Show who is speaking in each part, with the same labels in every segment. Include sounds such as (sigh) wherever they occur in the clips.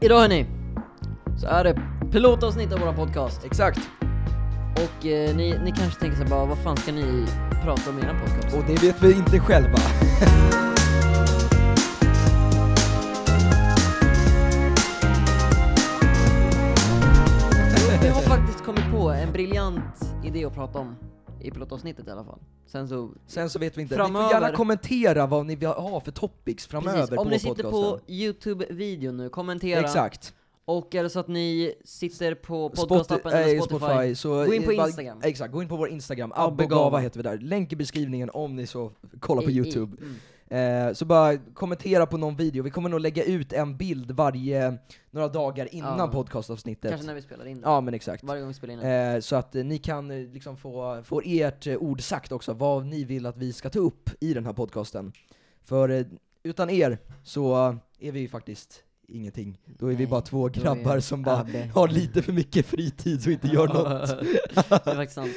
Speaker 1: Idag hörni, så är det pilotavsnitt av våran podcast.
Speaker 2: Exakt.
Speaker 1: Och eh, ni, ni kanske tänker så här bara, vad fan ska ni prata om i eran podcast?
Speaker 2: Och det vet vi inte själva.
Speaker 1: Vi har faktiskt kommit på en briljant idé att prata om i pilotavsnittet i alla fall. Sen så,
Speaker 2: Sen så vet vi inte. Ni
Speaker 1: Framöver.
Speaker 2: får gärna kommentera vad ni vill ha för topics framöver
Speaker 1: precis,
Speaker 2: på
Speaker 1: om ni sitter på
Speaker 2: podcasten.
Speaker 1: Youtube-videon nu, kommentera.
Speaker 2: Exakt.
Speaker 1: Och är det så att ni sitter på
Speaker 2: Spoti-
Speaker 1: podcastappen eller
Speaker 2: eh,
Speaker 1: Spotify,
Speaker 2: så
Speaker 1: gå in på
Speaker 2: eh, va-
Speaker 1: Instagram.
Speaker 2: Exakt, gå in på vår Instagram,
Speaker 1: Abbe
Speaker 2: abbegava
Speaker 1: Gava.
Speaker 2: heter vi där. Länk i beskrivningen om ni så kollar på
Speaker 1: I- i-
Speaker 2: youtube.
Speaker 1: mm.
Speaker 2: Eh, så bara kommentera på någon video, vi kommer nog lägga ut en bild varje, några dagar innan
Speaker 1: Ja.
Speaker 2: podcastavsnittet.
Speaker 1: Kanske när vi spelar in det.
Speaker 2: Ja men exakt.
Speaker 1: Varje gång vi spelar in det.
Speaker 2: Eh, så att eh, ni kan eh, liksom få, få ert eh, ord sagt också, vad ni vill att vi ska ta upp i den här podcasten. För eh, utan er så eh, är vi ju faktiskt ingenting. Då är vi
Speaker 1: Nej,
Speaker 2: bara två
Speaker 1: då är
Speaker 2: grabbar
Speaker 1: vi
Speaker 2: som bara
Speaker 1: Abbe.
Speaker 2: har lite för mycket fritid så inte
Speaker 1: (laughs)
Speaker 2: gör något.
Speaker 1: Det är faktiskt sant.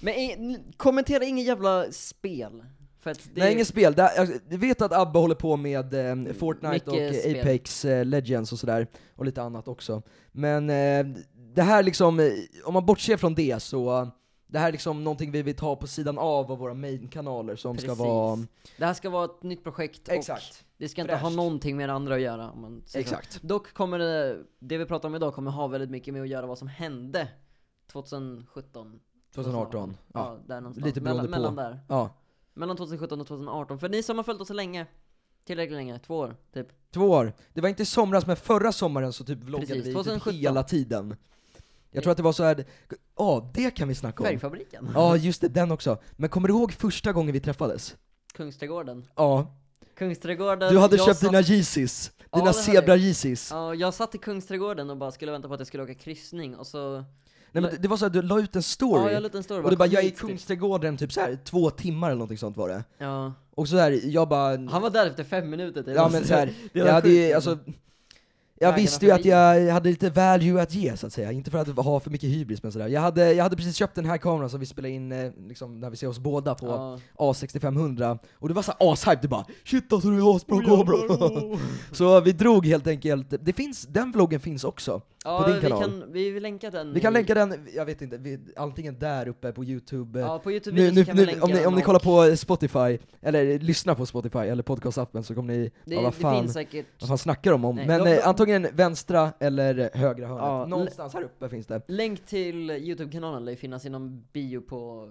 Speaker 1: Men i, n- kommentera inga jävla spel. För att det
Speaker 2: Nej,
Speaker 1: är, Mm,
Speaker 2: inget spel. Det- Jag vet att Abbe håller på med eh,
Speaker 1: Mycket
Speaker 2: Fortnite och eh,
Speaker 1: spel.
Speaker 2: Apex eh, Legends och sådär, och lite annat också. Men eh, det här liksom, eh, om man bortser från det så, eh, det här är liksom någonting vi vill ta på sidan av av våra main-kanaler som
Speaker 1: Precis.
Speaker 2: ska vara...
Speaker 1: Det här ska vara ett nytt projekt och
Speaker 2: Exakt,
Speaker 1: det ska inte ha
Speaker 2: Fräscht.
Speaker 1: någonting med det andra att göra. Om man säger så.
Speaker 2: exakt.
Speaker 1: Dock kommer det, det vi pratar om idag kommer ha väldigt mycket med att göra vad som hände 2017.
Speaker 2: 2018.
Speaker 1: Ja,
Speaker 2: Ja.
Speaker 1: där någonstans.
Speaker 2: Lite beroende
Speaker 1: mellan, mellan
Speaker 2: på.
Speaker 1: där.
Speaker 2: ja.
Speaker 1: Mellan 2017 och 2018. För ni som har följt oss så länge, tillräckligt länge, två år typ.
Speaker 2: Två år. Det var inte i somras, men förra sommaren så typ vloggade
Speaker 1: Precis,
Speaker 2: vi
Speaker 1: 2017.
Speaker 2: typ hela tiden. Jag tror att det var så här. ja det kan vi snacka om.
Speaker 1: Färgfabriken.
Speaker 2: Ja just det, den också. Men kommer du ihåg första gången vi träffades?
Speaker 1: Kungsträdgården.
Speaker 2: Ja,
Speaker 1: Kungsträdgården.
Speaker 2: Du hade
Speaker 1: jag
Speaker 2: köpt
Speaker 1: satt-
Speaker 2: dina Yeezys,
Speaker 1: Ja,
Speaker 2: dina
Speaker 1: det hade jag.
Speaker 2: zebra Yeezys.
Speaker 1: Ja, jag satt i Kungsträdgården och bara skulle vänta på att jag skulle åka kryssning och så...
Speaker 2: Nej men det- det var så här, du la ut en
Speaker 1: Ja,
Speaker 2: story,
Speaker 1: jag la ut en story
Speaker 2: och du bara
Speaker 1: "Kom
Speaker 2: 'jag är i
Speaker 1: hit", typ.
Speaker 2: Kungsträdgården' typ så här två timmar eller någonting sånt var det.
Speaker 1: Ja.
Speaker 2: Och så här, jag bara,
Speaker 1: Han var där efter fem minuter typ.
Speaker 2: ja men så här,
Speaker 1: (laughs) Det
Speaker 2: jag
Speaker 1: var
Speaker 2: hade ju,
Speaker 1: sjukt.
Speaker 2: alltså, jag
Speaker 1: Vägarna
Speaker 2: visste ju att
Speaker 1: förbi.
Speaker 2: jag hade lite value att ge så att säga, inte för att ha för mycket hybris men sådär. Jag hade, jag hade precis köpt den här kameran som vi spelar in eh, liksom, när vi ser oss båda på (laughs)
Speaker 1: Ja.
Speaker 2: A6500, och du var såhär ashype, du bara 'Shit alltså du är asbra kamera' (laughs) Så vi drog helt enkelt, det finns, den vloggen finns också.
Speaker 1: Ja,
Speaker 2: din
Speaker 1: vi
Speaker 2: kanal.
Speaker 1: kan, vi vill länka den.
Speaker 2: Vi kan
Speaker 1: i-
Speaker 2: länka den, jag vet inte, vi, antingen där uppe på youtube, eh,
Speaker 1: Ja, på youtube
Speaker 2: nu, nu,
Speaker 1: kan vi
Speaker 2: nu,
Speaker 1: länka
Speaker 2: om, ni, om
Speaker 1: den
Speaker 2: ni
Speaker 1: och-
Speaker 2: kollar på Spotify, eller lyssnar på Spotify eller podcastappen så kommer ni,
Speaker 1: det,
Speaker 2: ja, vad,
Speaker 1: det
Speaker 2: fan,
Speaker 1: finns säkert.
Speaker 2: vad fan snackar de om?
Speaker 1: Nej,
Speaker 2: Men
Speaker 1: de-
Speaker 2: eh, antingen vänstra eller högra hörnet,
Speaker 1: Ja,
Speaker 2: någonstans här uppe finns det.
Speaker 1: Länk till youtube-kanalen lär ju finnas i någon bio på...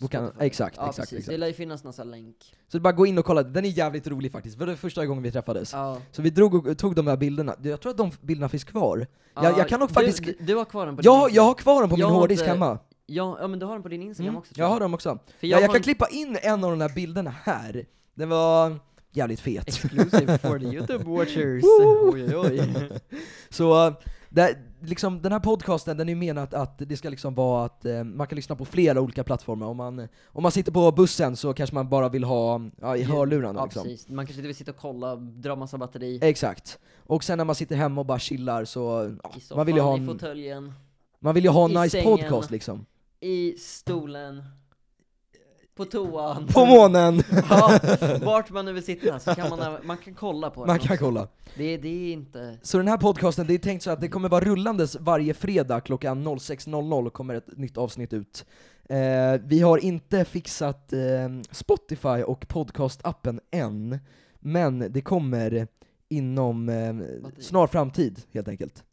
Speaker 2: På kan-
Speaker 1: Spotify.
Speaker 2: exakt,
Speaker 1: ja,
Speaker 2: exakt,
Speaker 1: precis.
Speaker 2: exakt.
Speaker 1: Det lär ju finnas någon sån här länk.
Speaker 2: Så det är bara gå in och kolla, den är jävligt rolig faktiskt, för det var första gången vi träffades.
Speaker 1: Ja.
Speaker 2: Så vi drog och tog de här bilderna, jag tror att de bilderna finns kvar.
Speaker 1: Ja,
Speaker 2: Jag, jag kan nog
Speaker 1: du,
Speaker 2: faktiskt...
Speaker 1: Du, du har kvar den på din
Speaker 2: Jag, jag
Speaker 1: Instagram.
Speaker 2: har kvar dem på
Speaker 1: Jag
Speaker 2: min
Speaker 1: har
Speaker 2: hårddisk
Speaker 1: inte-
Speaker 2: hemma.
Speaker 1: Ja, ja men du har den på din Instagram
Speaker 2: Mm,
Speaker 1: också tror
Speaker 2: jag har dem också.
Speaker 1: För
Speaker 2: Jag,
Speaker 1: jag,
Speaker 2: jag
Speaker 1: har
Speaker 2: kan
Speaker 1: en
Speaker 2: klippa in en av de där bilderna här, den var jävligt fet.
Speaker 1: exclusive for (laughs) the youtube watchers.
Speaker 2: Woo!
Speaker 1: oj, oj, (laughs) oj.
Speaker 2: Så eh, det, liksom, den här podcasten den är ju menat att det ska liksom vara att eh, man kan lyssna på flera olika plattformar. Om man, om man sitter på bussen så kanske man bara vill ha ja, i
Speaker 1: Ljud.
Speaker 2: hörlurarna.
Speaker 1: Ja,
Speaker 2: liksom. Eh,
Speaker 1: precis. Man kanske inte vill sitta och kolla, dra massa batteri.
Speaker 2: Exakt. Och sen när man sitter hemma och bara chillar så ja,
Speaker 1: I soffan,
Speaker 2: man vill ju ha
Speaker 1: i
Speaker 2: en,
Speaker 1: fåtöljen,
Speaker 2: man vill ju ha en
Speaker 1: i
Speaker 2: nice
Speaker 1: sängen.
Speaker 2: podcast liksom.
Speaker 1: i stolen, på toan.
Speaker 2: På månen!
Speaker 1: (laughs) ja, vart man nu vill sitta så kan man, man kan kolla på
Speaker 2: Man
Speaker 1: den
Speaker 2: kan
Speaker 1: också.
Speaker 2: kolla.
Speaker 1: Det, det är inte...
Speaker 2: Så den här podcasten, det är tänkt så att det kommer vara rullandes varje fredag klockan 06.00 och kommer ett nytt avsnitt ut. Eh, vi har inte fixat eh, Spotify och podcastappen än, men det kommer inom eh, snar framtid helt enkelt.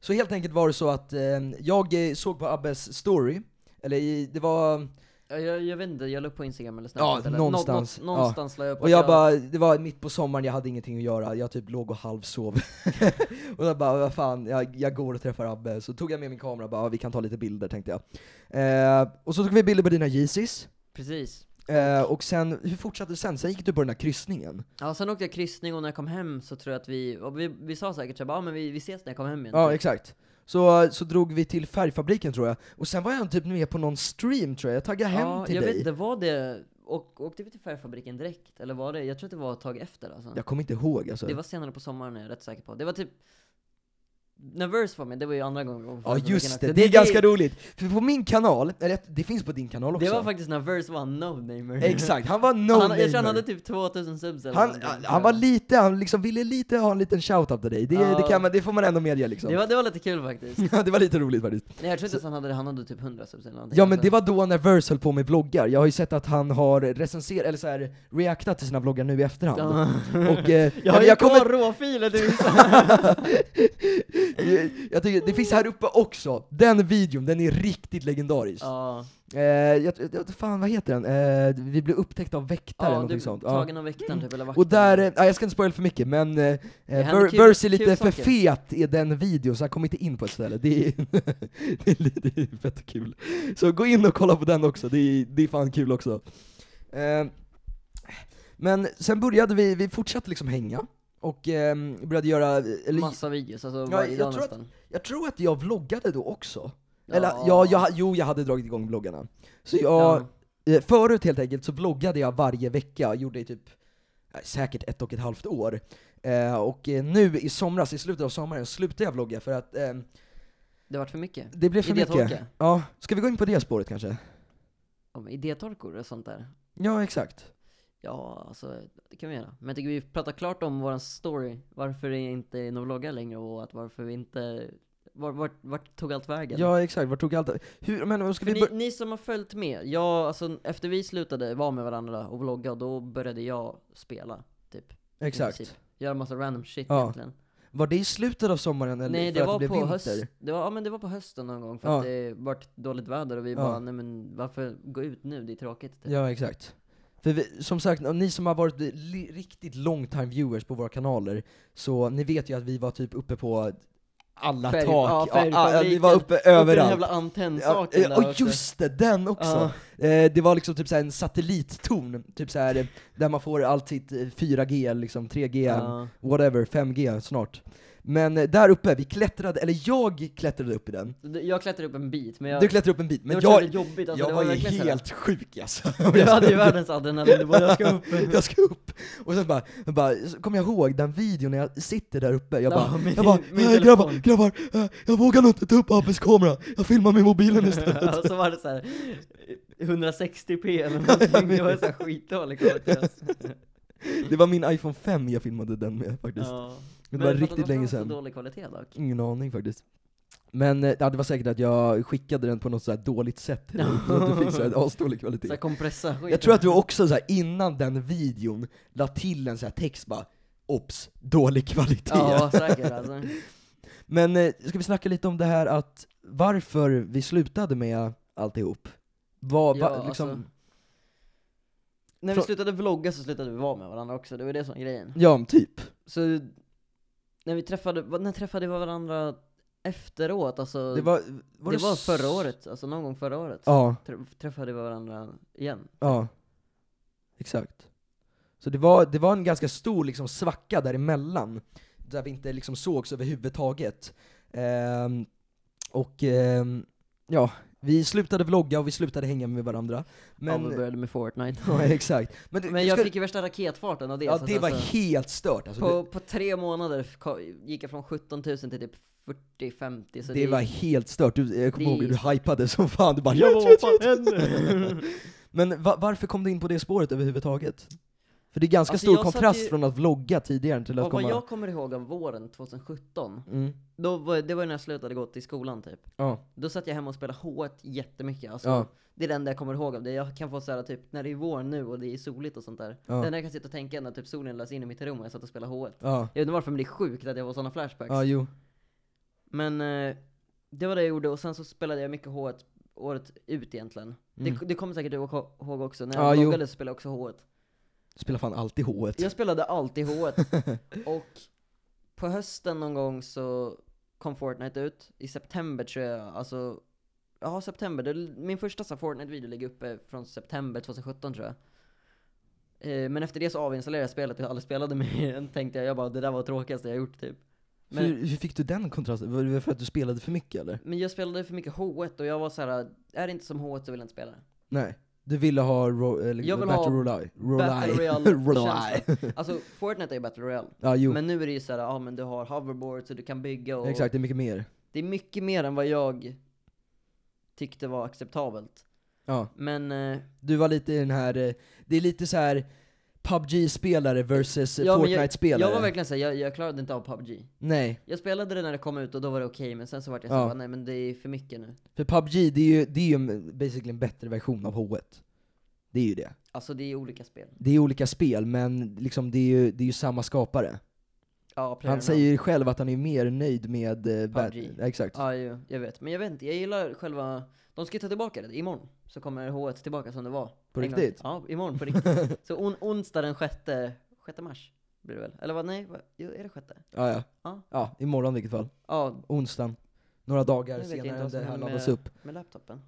Speaker 2: Så helt enkelt var det så att eh, jag eh, såg på Abbes story, eller i, det var,
Speaker 1: Ja, Jag, jag vet inte, jag la upp på instagram eller
Speaker 2: Ja,
Speaker 1: snapchat eller
Speaker 2: någonstans.
Speaker 1: Nå, nå, någonstans la jag upp
Speaker 2: och
Speaker 1: att
Speaker 2: jag bara, det var mitt på sommaren, jag hade ingenting att göra, jag typ låg och halvsov. (laughs) och jag bara, vad fan, jag, jag går och träffar Abbe. Så tog jag med min kamera och bara, "Ja, vi kan ta lite bilder tänkte jag. Eh, och så tog vi bilder på dina Yeezys,
Speaker 1: Precis.
Speaker 2: eh, och sen, hur fortsatte det sen? Sen gick du på den här kryssningen.
Speaker 1: Ja, sen åkte jag kryssning och när jag kom hem så tror jag att vi, och vi, vi sa säkert såhär, ja men vi, vi ses när jag kommer hem igen.
Speaker 2: Ja,
Speaker 1: typ.
Speaker 2: exakt. Så, så drog vi till färgfabriken tror jag, och sen var jag typ med på någon stream tror jag, jag taggade hem
Speaker 1: ja,
Speaker 2: till
Speaker 1: jag
Speaker 2: dig.
Speaker 1: vet inte, var det, och, åkte vi till färgfabriken direkt? Eller var det, jag tror att det var ett tag efter alltså.
Speaker 2: Jag kommer inte ihåg alltså.
Speaker 1: Det var senare på sommaren är jag rätt säker på. Det var typ Nervös var med, det var ju andra gången
Speaker 2: Ja just det, det är ganska roligt. För på min kanal, eller det finns på din kanal också.
Speaker 1: Det var faktiskt Nervös var en no-namer
Speaker 2: (laughs) Exakt, han var
Speaker 1: (laughs)
Speaker 2: no
Speaker 1: han, Jag tror
Speaker 2: namer.
Speaker 1: han hade typ 2000 subs eller
Speaker 2: han,
Speaker 1: någonting.
Speaker 2: han, han var lite, han liksom ville lite ha en liten shout-out till dig, det,
Speaker 1: Ja.
Speaker 2: det, kan, man- det får man ändå medge liksom.
Speaker 1: det, var, det var lite kul faktiskt
Speaker 2: (laughs) Ja, det var lite roligt faktiskt.
Speaker 1: Nej jag tror inte att han hade det, han hade typ 100 subs eller någonting
Speaker 2: Ja men det var då när Verse höll på med vloggar, jag har ju sett att han har recenserat, eller så här, reactat till sina vloggar nu i efterhand.
Speaker 1: (laughs)
Speaker 2: Och, eh,
Speaker 1: Jag har
Speaker 2: men
Speaker 1: ju
Speaker 2: jag
Speaker 1: kvar
Speaker 2: kommer,
Speaker 1: råfilen
Speaker 2: (laughs)
Speaker 1: du
Speaker 2: jag tycker, (laughs) det finns här uppe också, den videon, den är riktigt legendarisk.
Speaker 1: Ja,
Speaker 2: Eh, jag, jag, fan vad heter den? Eh, vi blev upptäckta av väktare eller
Speaker 1: ja
Speaker 2: någonting
Speaker 1: du
Speaker 2: sånt. Ja.
Speaker 1: tagen av väktaren typ eller vakten
Speaker 2: Och där, eh, nej, jag ska inte spoila för mycket men eh,
Speaker 1: händer
Speaker 2: Ver-
Speaker 1: kul-
Speaker 2: Verse är
Speaker 1: kul
Speaker 2: lite för
Speaker 1: saker.
Speaker 2: fet i den videon så han kommer inte in på ett ställe, det är, (laughs) det är lite fett kul. Så gå in och kolla på den också, det är, det är fan kul också. Eh, men sen började vi, vi fortsatte liksom hänga, och eh, började göra, eller,
Speaker 1: Massa videos, alltså
Speaker 2: jag
Speaker 1: varje dag
Speaker 2: tror att-
Speaker 1: nästan
Speaker 2: jag tror att jag vloggade då också. Eller ja, jag, jo jag hade dragit igång vloggarna. Så jag, Eh, Förut helt enkelt så vloggade jag varje vecka, gjorde i typ eh, säkert ett och ett halvt år. Eh, och eh, nu i somras, i slutet av sommaren, slutade jag vlogga för att eh,
Speaker 1: Det vart för mycket
Speaker 2: det blev för mycket.
Speaker 1: Idétorka.
Speaker 2: Ja, ska vi gå in på det spåret kanske?
Speaker 1: Ja, men idétorkor och sånt där
Speaker 2: Ja, exakt.
Speaker 1: Ja, alltså det kan vi göra. Men jag tycker vi pratar klart om våran story, varför det inte är några vloggar längre och att varför vi inte... Var, vart, vart tog allt vägen?
Speaker 2: Ja, exakt. Vart tog allt Hur, men vad ska
Speaker 1: För
Speaker 2: vi
Speaker 1: ni,
Speaker 2: bör-
Speaker 1: ni som har följt med, jag, alltså efter vi slutade vara med varandra och vlogga, då började jag spela. i
Speaker 2: Exakt.
Speaker 1: princip. Göra massa random shit
Speaker 2: Ja,
Speaker 1: egentligen.
Speaker 2: Var det i slutet av sommaren eller
Speaker 1: Nej
Speaker 2: för
Speaker 1: det
Speaker 2: att
Speaker 1: var
Speaker 2: det
Speaker 1: på
Speaker 2: blev vinter?
Speaker 1: höst, det var, ja men det var på hösten någon gång för
Speaker 2: Ja.
Speaker 1: att det vart dåligt väder och vi
Speaker 2: Ja.
Speaker 1: bara, nej men varför gå ut nu, det är tråkigt. typ.
Speaker 2: Ja, exakt. För vi, som sagt, ni som har varit li- riktigt long time viewers på våra kanaler, så ni vet ju att vi var typ uppe på alla
Speaker 1: Färg- ja,
Speaker 2: tak, ja,
Speaker 1: färgfabriken.
Speaker 2: vi var uppe
Speaker 1: Och den
Speaker 2: överallt.
Speaker 1: jävla
Speaker 2: Ja,
Speaker 1: antennsaken
Speaker 2: ja,
Speaker 1: där
Speaker 2: och
Speaker 1: också.
Speaker 2: just det, den också!
Speaker 1: Ja.
Speaker 2: Eh, det var liksom typ såhär en satellittorn, typ såhär, eh, där man får allt sitt eh, 4G, liksom 3G,
Speaker 1: Ja.
Speaker 2: whatever, 5G snart. Men eh, där uppe, vi klättrade, eller jag klättrade upp i den.
Speaker 1: Du- Jag klättrade upp en bit, men jag...
Speaker 2: Du klättrade upp en bit,
Speaker 1: det
Speaker 2: men
Speaker 1: var så
Speaker 2: jag,
Speaker 1: jävla jobbigt, alltså,
Speaker 2: jag
Speaker 1: det
Speaker 2: var ju
Speaker 1: verkligen så här- (laughs)
Speaker 2: helt sjuk alltså.
Speaker 1: Du hade ju världens adrenalin, du bara Alltså, 'jag ska upp'
Speaker 2: (laughs) jag ska upp! Och sen bara, jag bara så kom jag ihåg den videon när jag sitter där uppe, jag bara,
Speaker 1: Ja, min-
Speaker 2: jag bara
Speaker 1: min
Speaker 2: "Nej, grabbar,
Speaker 1: telefon."
Speaker 2: grabbar, eh, jag vågar nog inte ta upp Abbes kamera, jag filmar
Speaker 1: (laughs)
Speaker 2: med mobilen istället.
Speaker 1: Och så var det såhär 160p eller någonting, det var såhär skitdålig
Speaker 2: (laughs)
Speaker 1: kvalitet alltså.
Speaker 2: Det var min iPhone 5 jag filmade den med faktiskt.
Speaker 1: ja.
Speaker 2: det
Speaker 1: Men
Speaker 2: var
Speaker 1: varför
Speaker 2: riktigt
Speaker 1: var den
Speaker 2: länge
Speaker 1: så
Speaker 2: sedan.
Speaker 1: dålig kvalitet dock?
Speaker 2: Ingen aning faktiskt. Men eh, ja, det var säkert att jag skickade den på något sådär
Speaker 1: (laughs)
Speaker 2: dåligt sätt till dig, så att du fick såhär asdålig
Speaker 1: Såhär
Speaker 2: kvalitet.
Speaker 1: kompressa skit
Speaker 2: Jag tror att du också såhär, innan den videon la till en såhär text bara Ops, dålig kvalitet.
Speaker 1: Ja säkert alltså
Speaker 2: Men eh, ska vi snacka lite om det här att varför vi slutade med alltihop? Vad,
Speaker 1: Ja,
Speaker 2: va, liksom,
Speaker 1: alltså. När vi
Speaker 2: Från-
Speaker 1: slutade vlogga så slutade vi vara med varandra också, det var det som var grejen
Speaker 2: ja typ.
Speaker 1: Så, när vi träffade, vad- när träffade vi varandra efteråt alltså?
Speaker 2: Det var,
Speaker 1: det
Speaker 2: det
Speaker 1: var
Speaker 2: s-
Speaker 1: förra året, alltså någon gång förra året
Speaker 2: Ja,
Speaker 1: Tr- Träffade vi varandra igen
Speaker 2: ja. Exakt. Så det var, det var en ganska stor liksom, svacka däremellan, där vi inte liksom sågs överhuvudtaget. Ehm, och ehm, ja, vi slutade vlogga och vi slutade hänga med varandra. Men,
Speaker 1: Ja, vi började med Fortnite
Speaker 2: (laughs) ja, exakt. Men,
Speaker 1: (laughs)
Speaker 2: det-
Speaker 1: Men jag
Speaker 2: ska-
Speaker 1: fick ju värsta raketfarten av det
Speaker 2: ja,
Speaker 1: så att
Speaker 2: det var
Speaker 1: alltså,
Speaker 2: helt stört. Alltså,
Speaker 1: på, på tre månader ka- gick jag från 17 000 till typ 40-50 så
Speaker 2: det, var helt stört, du, jag kommer
Speaker 1: Det-
Speaker 2: ihåg hur du hypade som fan, du bara
Speaker 1: Jag
Speaker 2: "Yes,
Speaker 1: bara,
Speaker 2: yes,
Speaker 1: "Vad fan
Speaker 2: yes."
Speaker 1: händer?"
Speaker 2: (laughs) Men va, varför kom du in på det spåret överhuvudtaget? För det är ganska
Speaker 1: Alltså,
Speaker 2: stor
Speaker 1: jag satt
Speaker 2: kontrast
Speaker 1: ju-
Speaker 2: från att vlogga tidigare till att
Speaker 1: Och vad
Speaker 2: komma...
Speaker 1: jag kommer ihåg av våren 2017,
Speaker 2: Mm.
Speaker 1: då var, det var ju när jag slutade gå till skolan typ
Speaker 2: Ja.
Speaker 1: Då satt jag hemma och spelade H1 jättemycket, alltså,
Speaker 2: Ja.
Speaker 1: det är det enda jag kommer ihåg av det Jag kan få såhär typ, när det är vår nu och det är soligt och sånt där
Speaker 2: Ja.
Speaker 1: Det enda jag kan sitta och tänka är när typ solen lös in i mitt rum och jag satt och spelade H1
Speaker 2: Ja.
Speaker 1: Jag vet inte varför men det är sjukt att jag får sådana flashbacks
Speaker 2: ja, jo.
Speaker 1: Men eh, det var det jag gjorde och sen så spelade jag mycket H1 året ut egentligen.
Speaker 2: Mm.
Speaker 1: Det, det kommer säkert du ihåg också, när
Speaker 2: Ja,
Speaker 1: jag
Speaker 2: jo.
Speaker 1: bloggade så spelade jag också H1.
Speaker 2: Spelar fan alltid H1.
Speaker 1: Jag spelade alltid
Speaker 2: (laughs)
Speaker 1: H1 och på hösten någon gång så kom Fortnite ut. I september tror jag, alltså Ja, september. Det, min första så här Fortnite-video ligger uppe från september 2017 tror jag. Eh, men efter det så avinstallerade jag spelet och jag aldrig spelade mer igen, tänkte jag. Jag bara, det där var det tråkigaste jag gjort typ. men-
Speaker 2: hur, hur fick du den kontrasten? Var det för att du spelade för mycket eller? (laughs)
Speaker 1: Men jag spelade för mycket H1 och jag var så här: är det inte som H1 så vill jag inte spela det.
Speaker 2: Nej. Du ville ha ro, eller,
Speaker 1: Jag vill
Speaker 2: Battle
Speaker 1: ha
Speaker 2: Royale?
Speaker 1: Battle
Speaker 2: (laughs)
Speaker 1: Royale känsla. Alltså Fortnite är ju Battle Royale.
Speaker 2: Ja, jo.
Speaker 1: Men nu är det ju såhär, ja ah, men du har hoverboards och du kan bygga och...
Speaker 2: Exakt, det är mycket mer.
Speaker 1: Det är mycket mer än vad jag tyckte var acceptabelt.
Speaker 2: Ja.
Speaker 1: Men eh,
Speaker 2: Du var lite i den här, eh, det är lite så här PubG-spelare versus eh,
Speaker 1: Ja, men
Speaker 2: Fortnite-spelare.
Speaker 1: jag var verkligen såhär, jag, jag klarade inte av PubG.
Speaker 2: Nej,
Speaker 1: Jag spelade det när det kom ut och då var det okej, men sen så vart jag
Speaker 2: Ja.
Speaker 1: såhär, nej men det är för mycket nu.
Speaker 2: för PubG det är ju, det är ju en, basically en bättre version av H1. Det är ju det.
Speaker 1: Alltså det är olika spel.
Speaker 2: Det är olika spel, men liksom det är ju, det är ju samma skapare.
Speaker 1: Ja, player
Speaker 2: Han
Speaker 1: unknown.
Speaker 2: säger ju själv att han är mer nöjd med... eh, Bat-
Speaker 1: PUBG.
Speaker 2: Exakt.
Speaker 1: Ja, jo, jag vet. Men jag vet inte, jag gillar själva... De ska ju ta tillbaka det, imorgon så kommer H1 tillbaka som det var.
Speaker 2: På
Speaker 1: En gång.
Speaker 2: riktigt?
Speaker 1: Ja, imorgon på
Speaker 2: (laughs)
Speaker 1: riktigt. så on, onsdag den sjätte, sjätte mars blir det väl? Eller vad, nej, vad, jo, är det sjätte?
Speaker 2: Ja, ja.
Speaker 1: Ja.
Speaker 2: ja, imorgon i vilket fall.
Speaker 1: Ja,
Speaker 2: Onsdagen. Några dagar
Speaker 1: Nu vet jag inte
Speaker 2: senare om
Speaker 1: vad som
Speaker 2: det här
Speaker 1: händer
Speaker 2: laddas
Speaker 1: med-
Speaker 2: upp.
Speaker 1: med laptopen.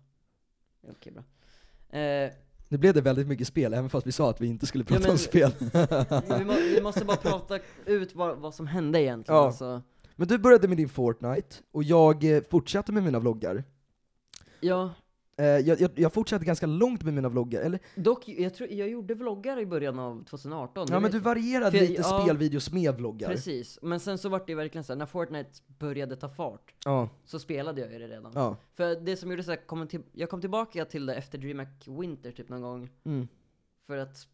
Speaker 1: Ja, Okej, bra. Eh,
Speaker 2: Nu blev det väldigt mycket spel, även fast vi sa att vi inte skulle prata
Speaker 1: men-
Speaker 2: om spel.
Speaker 1: vi, må, vi måste bara prata ut vad, vad som hände egentligen.
Speaker 2: Ja.
Speaker 1: Alltså,
Speaker 2: Men du började med din Fortnite, och jag eh, fortsatte med mina vloggar.
Speaker 1: ja,
Speaker 2: Eh, jag, jag, jag fortsatte ganska långt med mina vloggar, eller
Speaker 1: dock, jag, tror, jag gjorde vloggar i början av 2018.
Speaker 2: ja, men du varierade
Speaker 1: För jag-
Speaker 2: lite
Speaker 1: ja.
Speaker 2: spelvideos med vloggar.
Speaker 1: Precis, men sen så vart det verkligen så här, när Fortnite började ta fart
Speaker 2: Ja,
Speaker 1: så spelade jag ju det redan.
Speaker 2: ja.
Speaker 1: För det som gjorde så här, kom till, jag kom tillbaka till det efter DreamHack Winter typ någon gång.
Speaker 2: Mm.
Speaker 1: För att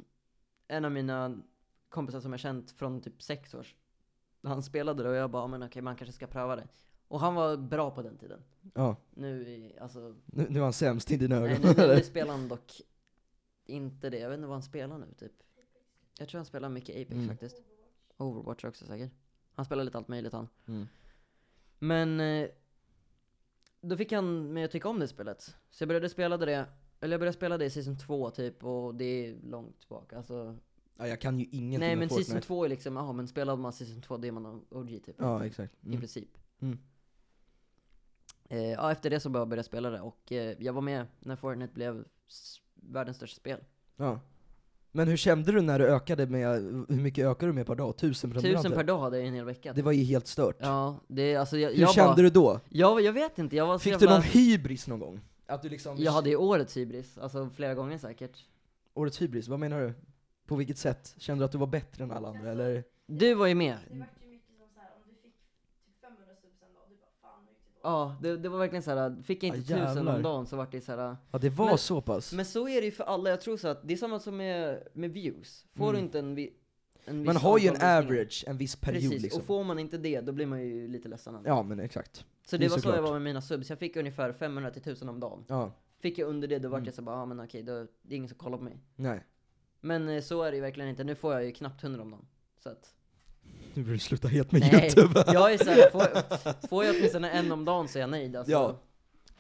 Speaker 1: en av mina kompisar som jag känt från typ sex års, han spelade det och jag bara, "Ja, men okej man kanske ska pröva det. Och han var bra på den tiden.
Speaker 2: ja.
Speaker 1: Nu, i- alltså,
Speaker 2: Nu, nu är han sämst i dina
Speaker 1: nej,
Speaker 2: ögon.
Speaker 1: nu, nu, nu
Speaker 2: (laughs) eller?
Speaker 1: spelar han dock inte det. Jag vet inte vad han spelar nu typ. Jag tror han spelar mycket Apex
Speaker 2: Mm.
Speaker 1: faktiskt. Overwatch också säkert. Han spelar lite allt möjligt han.
Speaker 2: Mm.
Speaker 1: Men eh, då fick han mig att tycka om det spelet. Så jag började spela det, eller jag började spela det i Season 2 typ, och det är långt tillbaka. Alltså,
Speaker 2: Ja, jag kan ju ingenting
Speaker 1: nej
Speaker 2: om
Speaker 1: men
Speaker 2: Fortnite.
Speaker 1: Season 2 är liksom, jaha men spelade man Season 2 då är man OG typ.
Speaker 2: Ja, exakt.
Speaker 1: I
Speaker 2: Mm.
Speaker 1: princip.
Speaker 2: Mm.
Speaker 1: Eh, ja, efter det så började jag börja spela det och eh, jag var med när Fortnite blev s- världens största spel.
Speaker 2: Ja. Men hur kände du när du ökade med, hur mycket ökade du med per dag? Tusen prenumeranter?
Speaker 1: Tusen per dag hade jag i en hel vecka.
Speaker 2: Det var ju helt stört.
Speaker 1: Ja, det är alltså jag,
Speaker 2: Hur
Speaker 1: jag
Speaker 2: kände
Speaker 1: bara,
Speaker 2: du då?
Speaker 1: jag, jag vet inte, jag var så
Speaker 2: Fick du
Speaker 1: jävla,
Speaker 2: någon hybris någon gång? Att du liksom,
Speaker 1: Jag hade ju årets hybris, alltså flera gånger säkert.
Speaker 2: Årets hybris, vad menar du? På vilket sätt? Kände du att du var bättre än alla andra eller?
Speaker 1: Du var ju med.
Speaker 3: Det vart ju mycket som såhär, om du fick typ 500 subs en dag, du bara fan nu gick det dåligt.
Speaker 1: Ja, det, det var verkligen så här. fick jag inte
Speaker 2: Ah,
Speaker 1: tusen
Speaker 2: jävlar.
Speaker 1: om dagen så vart det så här.
Speaker 2: Ja det var
Speaker 1: Men-
Speaker 2: så pass.
Speaker 1: Men så är det ju för alla, jag tror så att det är samma som med, med views. Får
Speaker 2: Mm.
Speaker 1: du inte en, vi, en viss
Speaker 2: Man har ju en
Speaker 1: antal visningar-
Speaker 2: average en viss period
Speaker 1: Precis,
Speaker 2: liksom.
Speaker 1: och får man inte det då blir man ju lite ledsen. ändå.
Speaker 2: Ja men exakt.
Speaker 1: så
Speaker 2: det
Speaker 1: det
Speaker 2: är
Speaker 1: var så
Speaker 2: såklart.
Speaker 1: jag var med mina subs, jag fick ungefär 500 till 1000 om dagen.
Speaker 2: Ja,
Speaker 1: Fick jag under det då vart
Speaker 2: Mm.
Speaker 1: jag så bara, ah, men okej, då, det är ingen som kollar på mig.
Speaker 2: nej.
Speaker 1: Men eh, så är det ju verkligen inte, nu får jag ju knappt 100 om dagen. Så att,
Speaker 2: (laughs) Nu vill du sluta helt med
Speaker 1: Nej,
Speaker 2: youtube.
Speaker 1: jag är såhär, får, får jag åtminstone en om dagen så är jag nöjd alltså.
Speaker 2: Ja.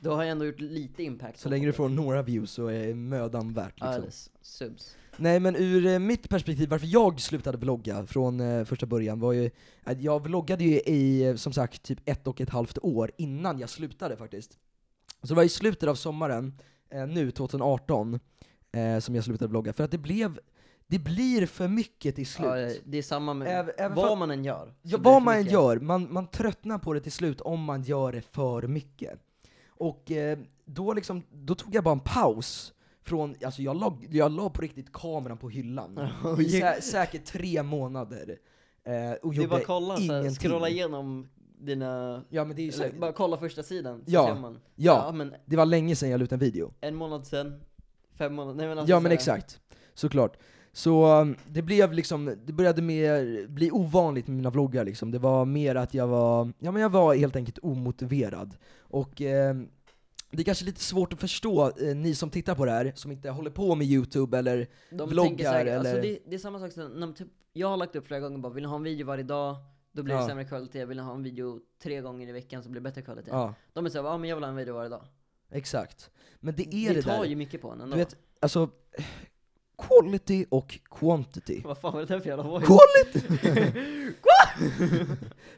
Speaker 1: Då har jag ändå gjort lite impact.
Speaker 2: Så länge du får några views så är mödan värt liksom.
Speaker 1: Alice, subs.
Speaker 2: Nej men ur eh, mitt perspektiv, varför jag slutade vlogga från eh, första början var ju att jag vloggade ju i eh, som sagt typ ett och ett halvt år innan jag slutade faktiskt. Så det var i slutet av sommaren, eh, nu 2018, eh, som jag slutade vlogga. För att det blev, det blir för mycket till slut.
Speaker 1: Ja, eh, det är samma med
Speaker 2: Även- även
Speaker 1: vad
Speaker 2: fa-
Speaker 1: man än gör. så
Speaker 2: Ja,
Speaker 1: blir det
Speaker 2: vad
Speaker 1: för
Speaker 2: man än
Speaker 1: mycket.
Speaker 2: gör, man, man tröttnar på det till slut om man gör det för mycket. Och eh, då, liksom, då tog jag bara en paus. Från, alltså jag, la, jag la på riktigt kameran på hyllan
Speaker 1: Och
Speaker 2: i
Speaker 1: gick-
Speaker 2: sä, säkert tre månader. Eh, och
Speaker 1: Det är bara
Speaker 2: gjorde
Speaker 1: att kolla, så här,
Speaker 2: ingenting.
Speaker 1: scrolla igenom dina...
Speaker 2: Ja, men det, är ju
Speaker 1: Eller,
Speaker 2: säkert,
Speaker 1: bara kolla första sidan, så
Speaker 2: Ja.
Speaker 1: ser man.
Speaker 2: ja,
Speaker 1: men
Speaker 2: det var länge sedan jag la ut en video.
Speaker 1: en månad sen, fem månader, nej men alltså
Speaker 2: Ja
Speaker 1: så
Speaker 2: men
Speaker 1: här-
Speaker 2: exakt, såklart. Så um, det blev liksom, det började mer, bli ovanligt med mina vloggar liksom. Det var mer att jag var, ja men jag var helt enkelt omotiverad. Och ehm, det är kanske lite svårt att förstå, eh, ni som tittar på det här, som inte håller på med youtube eller,
Speaker 1: De
Speaker 2: vloggar
Speaker 1: tänker säkert, alltså
Speaker 2: eller-
Speaker 1: det, det är samma sak som, när, de typ, jag har lagt upp flera gånger bara, vill ni ha en video varje dag? Då blir
Speaker 2: Ja.
Speaker 1: det sämre kvalitet, vill ni ha en video tre gånger i veckan så blir det bättre kvalitet.
Speaker 2: ja
Speaker 1: De är såhär, ja men jag vill ha en video varje dag.
Speaker 2: exakt. Men det
Speaker 1: Det,
Speaker 2: är det,
Speaker 1: tar
Speaker 2: där,
Speaker 1: ju mycket på en ändå.
Speaker 2: du vet, alltså, quality och quantity.
Speaker 1: (laughs) Vad fan var det där för jävla voice?
Speaker 2: Quality!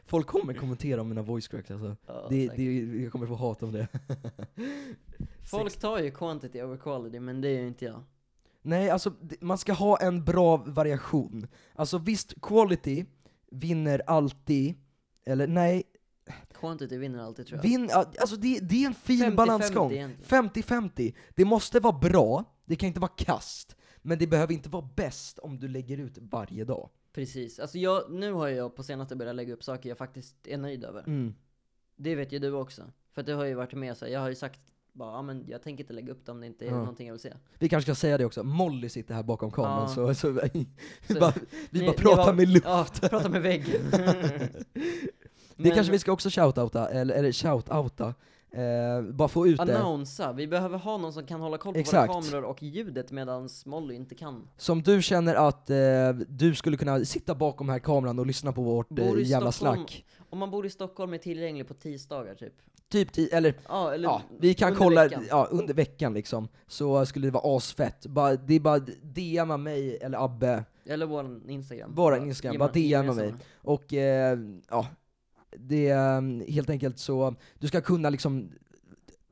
Speaker 2: Folk kommer kommentera om mina voice cracks alltså.
Speaker 1: (laughs) Ja,
Speaker 2: Det,
Speaker 1: säkert.
Speaker 2: det, jag kommer få hat om det.
Speaker 1: (laughs) Folk tar ju quantity over quality, men det är ju inte jag.
Speaker 2: Nej, alltså d- man ska ha en bra variation. Alltså visst, quality vinner alltid, eller nej,
Speaker 1: Quantity vinner alltid tror jag.
Speaker 2: vin, alltså det, det är en fin
Speaker 1: 50-50
Speaker 2: balansgång.
Speaker 1: egentligen.
Speaker 2: 50-50. Det måste vara bra, Det kan inte vara kast, men det behöver inte vara bäst om du lägger ut varje dag.
Speaker 1: Precis. Alltså jag, nu har jag på senaste börjat lägga upp saker jag faktiskt är nöjd
Speaker 2: Mm.
Speaker 1: över. Det vet ju du också. För att det har ju varit med så här, jag har ju sagt bara, ja men jag tänker inte lägga upp det om det inte är
Speaker 2: Ja.
Speaker 1: någonting jag
Speaker 2: (laughs)
Speaker 1: vill se.
Speaker 2: Vi kanske ska säga det också, Molly sitter här bakom kameran
Speaker 1: Ja.
Speaker 2: så, (laughs) så vi,
Speaker 1: Så-
Speaker 2: bara, vi
Speaker 1: Ni-
Speaker 2: bara
Speaker 1: det
Speaker 2: pratar
Speaker 1: var-
Speaker 2: med luft.
Speaker 1: Ja, prata med (laughs)
Speaker 2: (laughs)
Speaker 1: väggen.
Speaker 2: Det kanske vi ska också shoutouta, eller, eller shoutouta, eh, bara få ut det.
Speaker 1: Annonsa, vi behöver ha någon som kan hålla koll på
Speaker 2: Exakt.
Speaker 1: våra kameror och ljudet medan Molly inte kan.
Speaker 2: Som du känner att eh, du skulle kunna sitta bakom här kameran och lyssna på vårt eh,
Speaker 1: Bor i
Speaker 2: jävla
Speaker 1: Stockholm.
Speaker 2: slack.
Speaker 1: Om man bor i Stockholm är tillgänglig på tisdagar typ.
Speaker 2: Typ, ti- eller
Speaker 1: Ja, eller
Speaker 2: Ja, vi kan
Speaker 1: under
Speaker 2: kolla
Speaker 1: veckan.
Speaker 2: Ja, under veckan liksom, så skulle det vara asfett. Bara, det är bara DMa mig eller Abbe,
Speaker 1: Eller vår Instagram.
Speaker 2: Våran Instagram,
Speaker 1: gemen-
Speaker 2: bara DMa mig.
Speaker 1: gemensamma.
Speaker 2: och eh, ja, det är helt enkelt så, du ska kunna liksom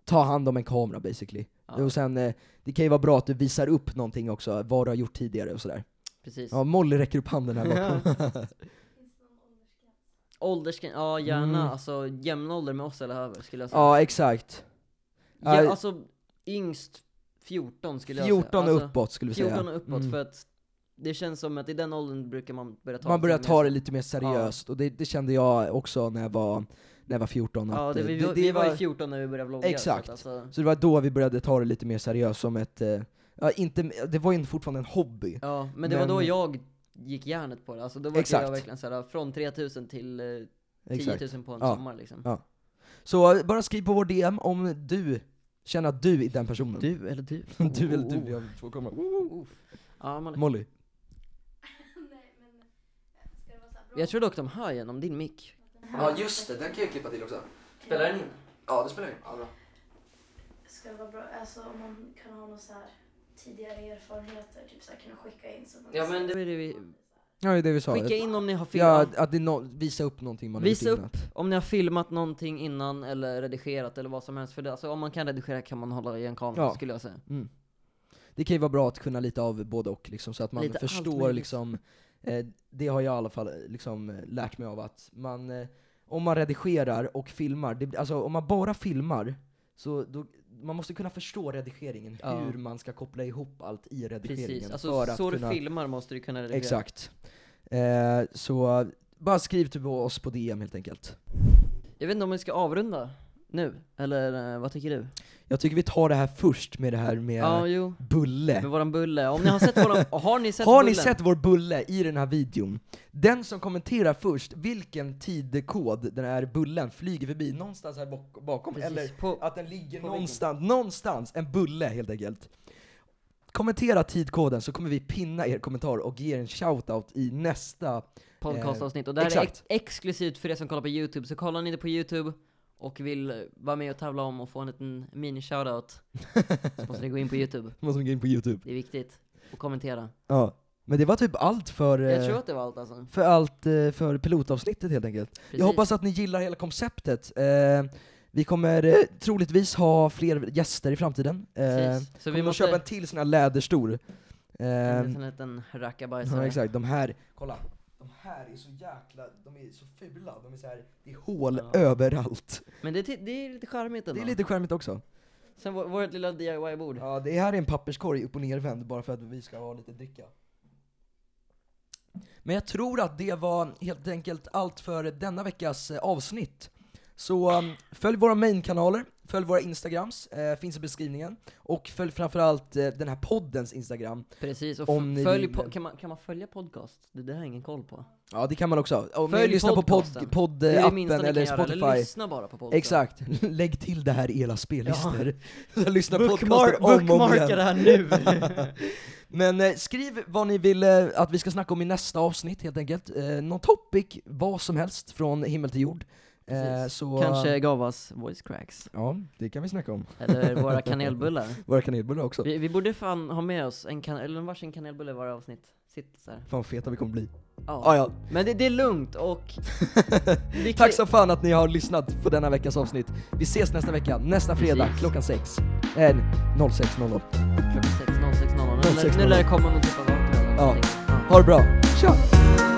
Speaker 2: ta hand om en kamera basically.
Speaker 1: Ja,
Speaker 2: Och sen, eh, det kan ju vara bra att du visar upp någonting också, vad du har gjort tidigare och sådär.
Speaker 1: precis.
Speaker 2: Ja, Molly räcker upp handen här
Speaker 1: (laughs)
Speaker 2: bakom.
Speaker 3: Finns det någon åldersgräns?
Speaker 1: Åldersgräns, ja gärna.
Speaker 2: Mm.
Speaker 1: Alltså jämn ålder med oss eller över skulle jag säga.
Speaker 2: ja, exakt.
Speaker 1: Ja,
Speaker 2: eh,
Speaker 1: alltså yngst 14 skulle jag
Speaker 2: 14
Speaker 1: säga.
Speaker 2: och
Speaker 1: Alltså,
Speaker 2: uppåt skulle vi säga.
Speaker 1: 14 och uppåt
Speaker 2: Mm.
Speaker 1: för att det känns som att i den åldern brukar man börja ta
Speaker 2: man börjar
Speaker 1: lite
Speaker 2: ta
Speaker 1: mer-
Speaker 2: det lite mer seriöst, och det, det kände jag också när jag var, när jag var 14.
Speaker 1: Ja,
Speaker 2: att,
Speaker 1: det,
Speaker 2: eh,
Speaker 1: vi,
Speaker 2: det- det
Speaker 1: vi var ju 14 när vi började vlogga.
Speaker 2: Exakt.
Speaker 1: Så att, alltså,
Speaker 2: Så det var då vi började ta det lite mer seriöst som ett, eh, ja, inte, det var ju fortfarande en hobby.
Speaker 1: ja, men det var då
Speaker 2: Men-
Speaker 1: jag gick järnet på det. Alltså, då var
Speaker 2: Exakt.
Speaker 1: jag verkligen såhär, från 3000 till eh, 10
Speaker 2: Exakt.
Speaker 1: 000 på en
Speaker 2: Ja.
Speaker 1: sommar liksom.
Speaker 2: Ja. Så eh, bara skriv på vår DM om du känner att du är den personen.
Speaker 1: Du eller du?
Speaker 2: (laughs) du eller
Speaker 1: Oh, oh,
Speaker 2: du, jag får komma.
Speaker 1: oh, oh. Ja, man,
Speaker 2: Molly.
Speaker 3: Nej men, eh, ska det vara så här bra?
Speaker 1: jag tror dock de hör genom din mick.
Speaker 2: Ja just det, den kan jag klippa till också.
Speaker 1: Spelar den in?
Speaker 2: Ja det spelar ju ja, bra.
Speaker 3: Ska det vara bra, alltså om man kan ha någon så här tidigare erfarenheter, typ så här kunna skicka in så man
Speaker 1: Ja men det är det vi...
Speaker 2: Ja det är det vi sa.
Speaker 1: Skicka in om ni har
Speaker 2: ja,
Speaker 1: filmat.
Speaker 2: att det är nå- visa upp någonting man har
Speaker 1: Visa
Speaker 2: gjort
Speaker 1: upp
Speaker 2: innan.
Speaker 1: om ni har filmat någonting innan eller redigerat eller vad som helst. För det, alltså, om man kan redigera kan man hålla i en kamera
Speaker 2: Ja.
Speaker 1: skulle jag säga.
Speaker 2: Mm. Det kan ju vara bra att kunna lite av både och, liksom, så att man
Speaker 1: Lite allt
Speaker 2: förstår
Speaker 1: möjligt.
Speaker 2: liksom, eh, det har jag i alla fall eh, liksom, eh, lärt mig av att man, eh, om man redigerar och filmar, det, alltså om man bara filmar, så då, man måste kunna förstå redigeringen,
Speaker 1: Ja.
Speaker 2: hur man ska koppla ihop allt i redigeringen.
Speaker 1: Precis, alltså
Speaker 2: för att
Speaker 1: så
Speaker 2: kunna,
Speaker 1: du filmar måste du kunna redigera.
Speaker 2: Exakt. Eh, så eh, bara skriv till oss på DM helt enkelt.
Speaker 1: Jag vet inte om vi ska avrunda nu, eller eh, vad tycker du?
Speaker 2: Jag tycker vi tar det här först med det här med
Speaker 1: Ja, jo.
Speaker 2: bulle.
Speaker 1: Med våran bulle. Om ni har sett våran, och har ni sett
Speaker 2: Har
Speaker 1: bullen?
Speaker 2: ni sett vår bulle i den här videon? Den som kommenterar först vilken tidkod den här bullen flyger förbi, någonstans här bak- bakom,
Speaker 1: Precis.
Speaker 2: eller
Speaker 1: På,
Speaker 2: att den ligger
Speaker 1: På
Speaker 2: någonstans, någonstans, en bulle helt enkelt. Kommentera tidkoden så kommer vi pinna er kommentar och ge er en shoutout i nästa
Speaker 1: podcastavsnitt. Och det här är
Speaker 2: Eh, exakt.
Speaker 1: ex- exklusivt för er som kollar på YouTube, så kollar ni det på YouTube och vill eh, vara med och tävla om och få en liten mini-shoutout, så måste ni gå in på YouTube.
Speaker 2: måste man gå in på youtube.
Speaker 1: Det är viktigt. Och kommentera.
Speaker 2: Ja. Men det var typ allt för, eh,
Speaker 1: Jag tror att det var allt alltså.
Speaker 2: för allt eh, för pilotavsnittet helt enkelt.
Speaker 1: Precis.
Speaker 2: Jag hoppas att ni gillar hela konceptet. Eh, vi kommer eh, troligtvis ha fler gäster i framtiden. Eh,
Speaker 1: Precis. Så vi
Speaker 2: vi kommer
Speaker 1: måste
Speaker 2: köpa en till sån här läderstor. Eh,
Speaker 1: en liten, liten rackabajsare.
Speaker 2: ja, exakt, de här, kolla. De här är så jäkla, de är så fula. De är så här, det är hål
Speaker 1: Ja.
Speaker 2: överallt.
Speaker 1: Men det, är- det är lite charmigt
Speaker 2: Det
Speaker 1: ändå.
Speaker 2: är lite charmigt också.
Speaker 1: Sen vår, vårt lilla DIY-bord.
Speaker 2: Ja, det här är en papperskorg upp och nervänd bara för att vi ska ha lite dricka. Men jag tror att det var helt enkelt allt för denna veckas eh, avsnitt. Så um, följ våra mainkanaler, följ våra instagrams, eh, finns i beskrivningen. Och följ framförallt eh, den här poddens instagram.
Speaker 1: Precis, och
Speaker 2: Om ni
Speaker 1: f- följ
Speaker 2: vill-
Speaker 1: po- kan, man, kan man följa podcast? Det där har jag ingen koll på.
Speaker 2: Ja det kan man också. Om ni
Speaker 1: Följ
Speaker 2: lyssnar på
Speaker 1: podcasten.
Speaker 2: pod- podd,
Speaker 1: det är det
Speaker 2: appen
Speaker 1: minsta ni
Speaker 2: eller
Speaker 1: kan
Speaker 2: Spotify.
Speaker 1: göra, eller lyssna bara på podden.
Speaker 2: Exakt, (laughs) lägg till det här i era spellistor. (laughs) lyssna på podcasten
Speaker 1: Bookmark,
Speaker 2: om och om
Speaker 1: bookmarka
Speaker 2: igen.
Speaker 1: det här nu!
Speaker 2: (laughs) Men eh, skriv vad ni vill eh, att vi ska snacka om i nästa avsnitt helt enkelt. Eh, någon topic, vad som helst, från himmel till jord. Eh,
Speaker 1: Precis.
Speaker 2: så,
Speaker 1: Kanske Gavas voice cracks,
Speaker 2: Ja, det kan vi snacka om.
Speaker 1: eller
Speaker 2: (laughs)
Speaker 1: våra kanelbullar.
Speaker 2: Våra kanelbullar också.
Speaker 1: Vi, vi borde fan ha med oss en kan- eller en varsin kanelbulle i varje avsnitt. Sitt så här.
Speaker 2: Fan vad feta vi kommer bli.
Speaker 1: Ja.
Speaker 2: Ah, ja.
Speaker 1: Men det, det är lugnt
Speaker 2: (laughs)
Speaker 1: och... det kan-
Speaker 2: Tack så fan att ni har lyssnat på denna veckas avsnitt. Vi ses nästa vecka, nästa fredag
Speaker 1: Precis.
Speaker 2: klockan 6. Eh, 06.00.
Speaker 1: Klockan 06.00. 06.00.
Speaker 2: 06.00.
Speaker 1: Nu lär det komma någon typ av dator eller
Speaker 2: Ja.
Speaker 1: någonting. Ja.
Speaker 2: Ha det bra, tja!